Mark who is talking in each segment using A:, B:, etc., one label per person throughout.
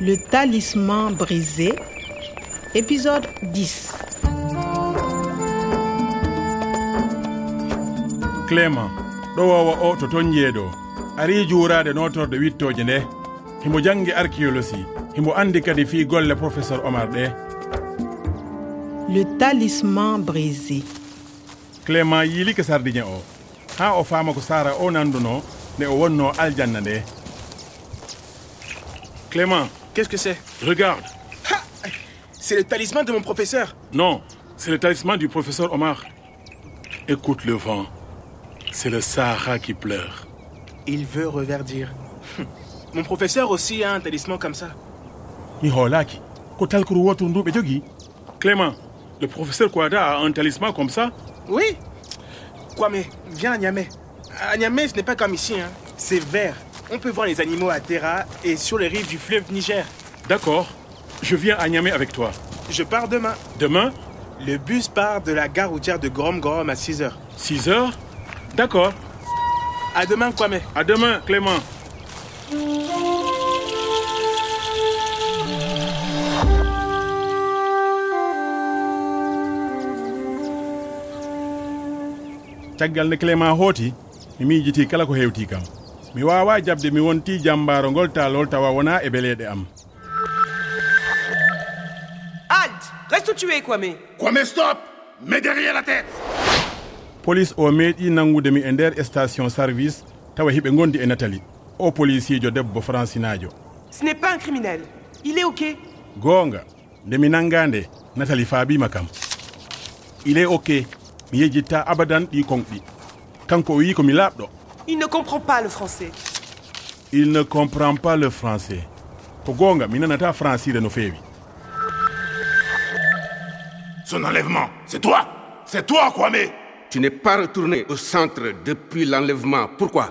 A: Le talisman brisé, épisode 10.
B: clément ɗowowa o to ton yeeɗo ari juurade notorde wittoje nde himo jangi archéologie himo andi kadi fi golle professeur omar ɗe
A: Le talisman brisé.
B: clément yiilike sardien o ha o faama ko sara o nanduno nde o wonno aljanna nde clément
C: Qu'est-ce que c'est
B: regarde
C: Ha C'est le talisman de mon professeur.
B: non c'est le talisman du professeur omar écoute le vent c'est le sahara qui pleure
C: Il veut reverdir. Hum. Mon professeur aussi a un talisman comme ça.
B: mi hoolaki ko talkuru woturu ndu ɓe jogii clément le professeur Kouada a un talisman comme ça
C: Oui Quoi mais viens à Niamey. À Niamey, ce n'est pas comme ici. Hein. C'est vert. On peut voir les animaux à Terra et sur les rives du fleuve Niger.
B: d'accord je viens à Niamey avec toi
C: Je pars demain.
B: demain
C: Le bus part de la gare routière de Gorom Gorom à 6h.
B: 6 heures d'accord
C: À demain, Kwame.
B: à demain clément caggal nde clément hooti mi miijiti kala ko hewti kam mi wawa jabde mi wonti jambaro ngol talol tawa wona e beleɗe am
D: Halte Reste où tu es, Kwame
E: Kwame, stop Mets derrière la tête
B: police o meeɗi nangude mi e nder station service tawa hiɓe gondi e natali o policijo debbo francinajo
D: Ce n'est pas un criminel. Il est OK.
B: goonga nde mi nanga nde natali faabima kam il est ok mi yejitta abadan ɗi konɓi kanko o wi komi laaɓɗo
D: Il ne comprend pas le français.
B: il ne comprend pas le français ko goonga mi nanata francire no feewi
E: Son enlèvement, c'est toi C'est toi, Kwame
F: Tu n'es pas retourné au centre depuis l'enlèvement. Pourquoi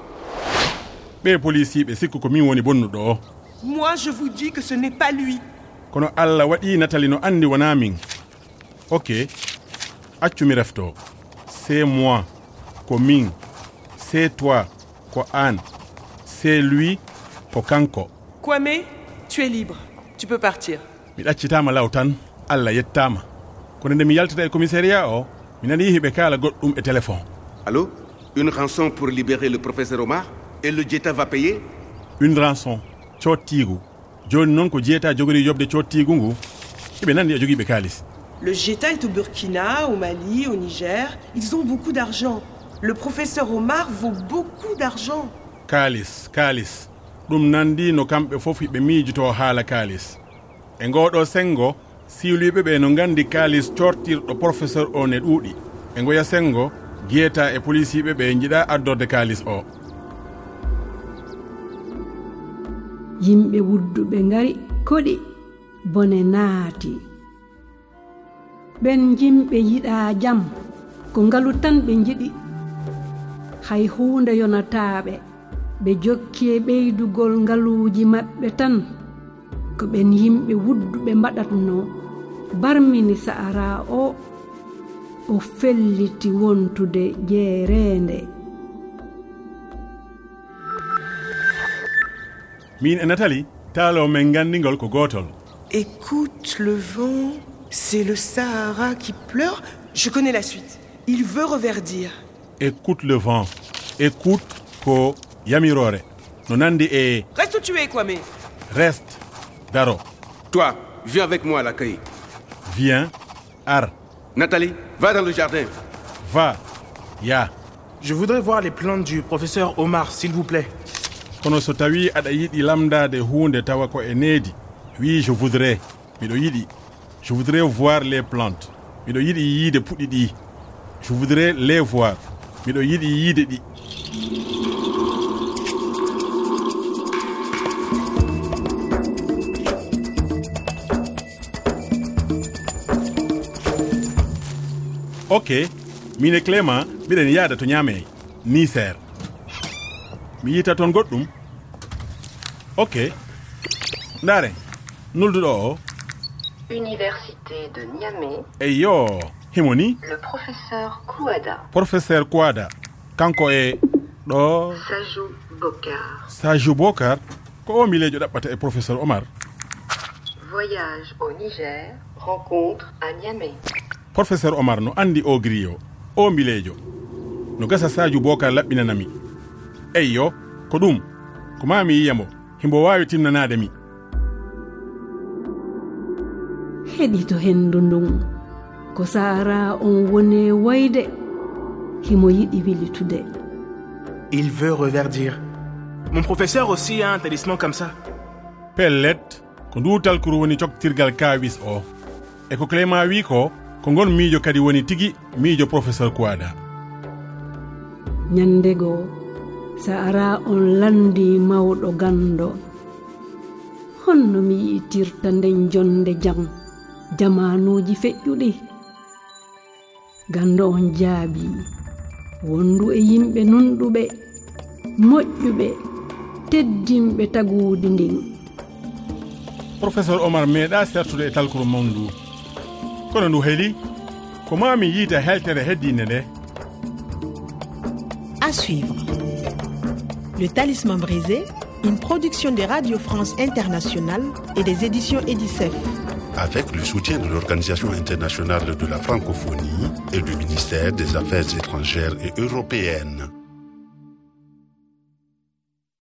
B: ɓe policiɓe sikku ko min woni bonnuɗo o
D: Moi, je vous dis que ce n'est pas lui.
B: kono allah waɗi natali no andi wona min ok accumi refto c'est moi ko min c'est toi ko an c'est lui ko kanko
D: Kwame, tu es libre. Tu peux partir.
B: mi ɗaccitama law tan allah yettama kono nde mi yaltata e commissariat o mi nani hiɓe kaala goɗɗum e téléphone
F: Allô Une rançon pour libérer le professeur Omar Et le Jeta va payer
B: une rançon cottigu joni noon ko jeeta jogori yobde cottigu ngu hiɓe nandi e jogiiɓe kaalis
D: Le Jeta est au Burkina, au Mali, au Niger. Ils ont beaucoup d'argent. Le professeur Omar vaut beaucoup d'argent.
B: kaalis kaalis ɗum nandi no kamɓe fof hiɓe miijoto haala kaalis e ngoɗo sengo siwliɓe ɓe no gandi kaalis cortirɗo professeur o ne ɗuuɗi e ngoya sengo guiyeta e policiɓe ɓe jiiɗa addorde kaalis o
G: yimɓe wudduɓe ngari koɗi bone naati ɓen jimɓe yiɗa jam ko ngalu tan ɓe jiɗi hay huunde yonataaɓe ɓe jokki e ɓeydugol ngaluuji maɓɓe tan ko ɓen yimɓe wudduɓe mbaɗatno barmini sa'ara o o felliti wontude jeereende
B: min e natali taalo men gandingol ko gotol
D: Écoute le vent, c'est le Sahara qui pleure. Je connais la suite. Il veut reverdir.
B: écoute le vent écoute ko yamirore no nandi e
D: Reste où tu es, Kwame.
B: reste daro
F: Toi, viens avec moi à l'accueil.
B: viens ar
F: Nathalie, va dans le jardin.
B: va ya
C: Je voudrais voir les plantes du professeur Omar, s'il vous plaît.
B: kono so tawi aɗa yiɗi lamdade hunde tawa ko e needi wi je voudrais miɗo yiɗi je voudrais voir les plantes miɗo yiɗi yiide puɗɗi ɗi je voudrais les voir miɗo yiɗi yiide ɗi ok mine clément mbiɗen yaada to ñaamey ni sere mi yita toon goɗɗum ok ndaaren nulduɗo o
H: Université de Niamey,
B: e yo himo ni
H: le professeur Kouada
B: professeur kouada kanko e ɗo
H: Sajou Bokar
B: sajou bocar ko o milejo ɗaɓɓata e professeur omar
H: Voyage au Niger, rencontre à Niamey.
B: professeur omar no andi o grille o o mbileejo no gasa sadiou bocar laɓɓinanami eyyo ko ɗum ko mami yiyamo himbo wawi timnanade mi
G: heɗito hendu ndun ko saara on woni woyde himo yiɗi wilitude
C: Il veut reverdir. Mon professeur aussi a un talisman comme ça.
B: pellet ko ndutal kuru woni coktirgal kawis o e ko clément wi ko ko ngon miijo kadi woni tigi miijo professeur kouada
G: ñande goo saara on landi mawɗo gando honno mi yi'itirta nden jonde jam jamanuuji feƴƴuɗi gando on jaabi wondu e yimɓe nunɗuɓe moƴƴuɓe teddinɓe taguudi ndin
B: professeur omar meeɗa sertude e talkuru mon ndu kono ndu heeli ko mami yiita heltere heddinde nde
A: À suivre. Le Talisman brisé, une production de Radio France Internationale et des éditions Edicef.
E: Avec le soutien de l'Organisation internationale de la francophonie et du ministère des Affaires étrangères et européennes.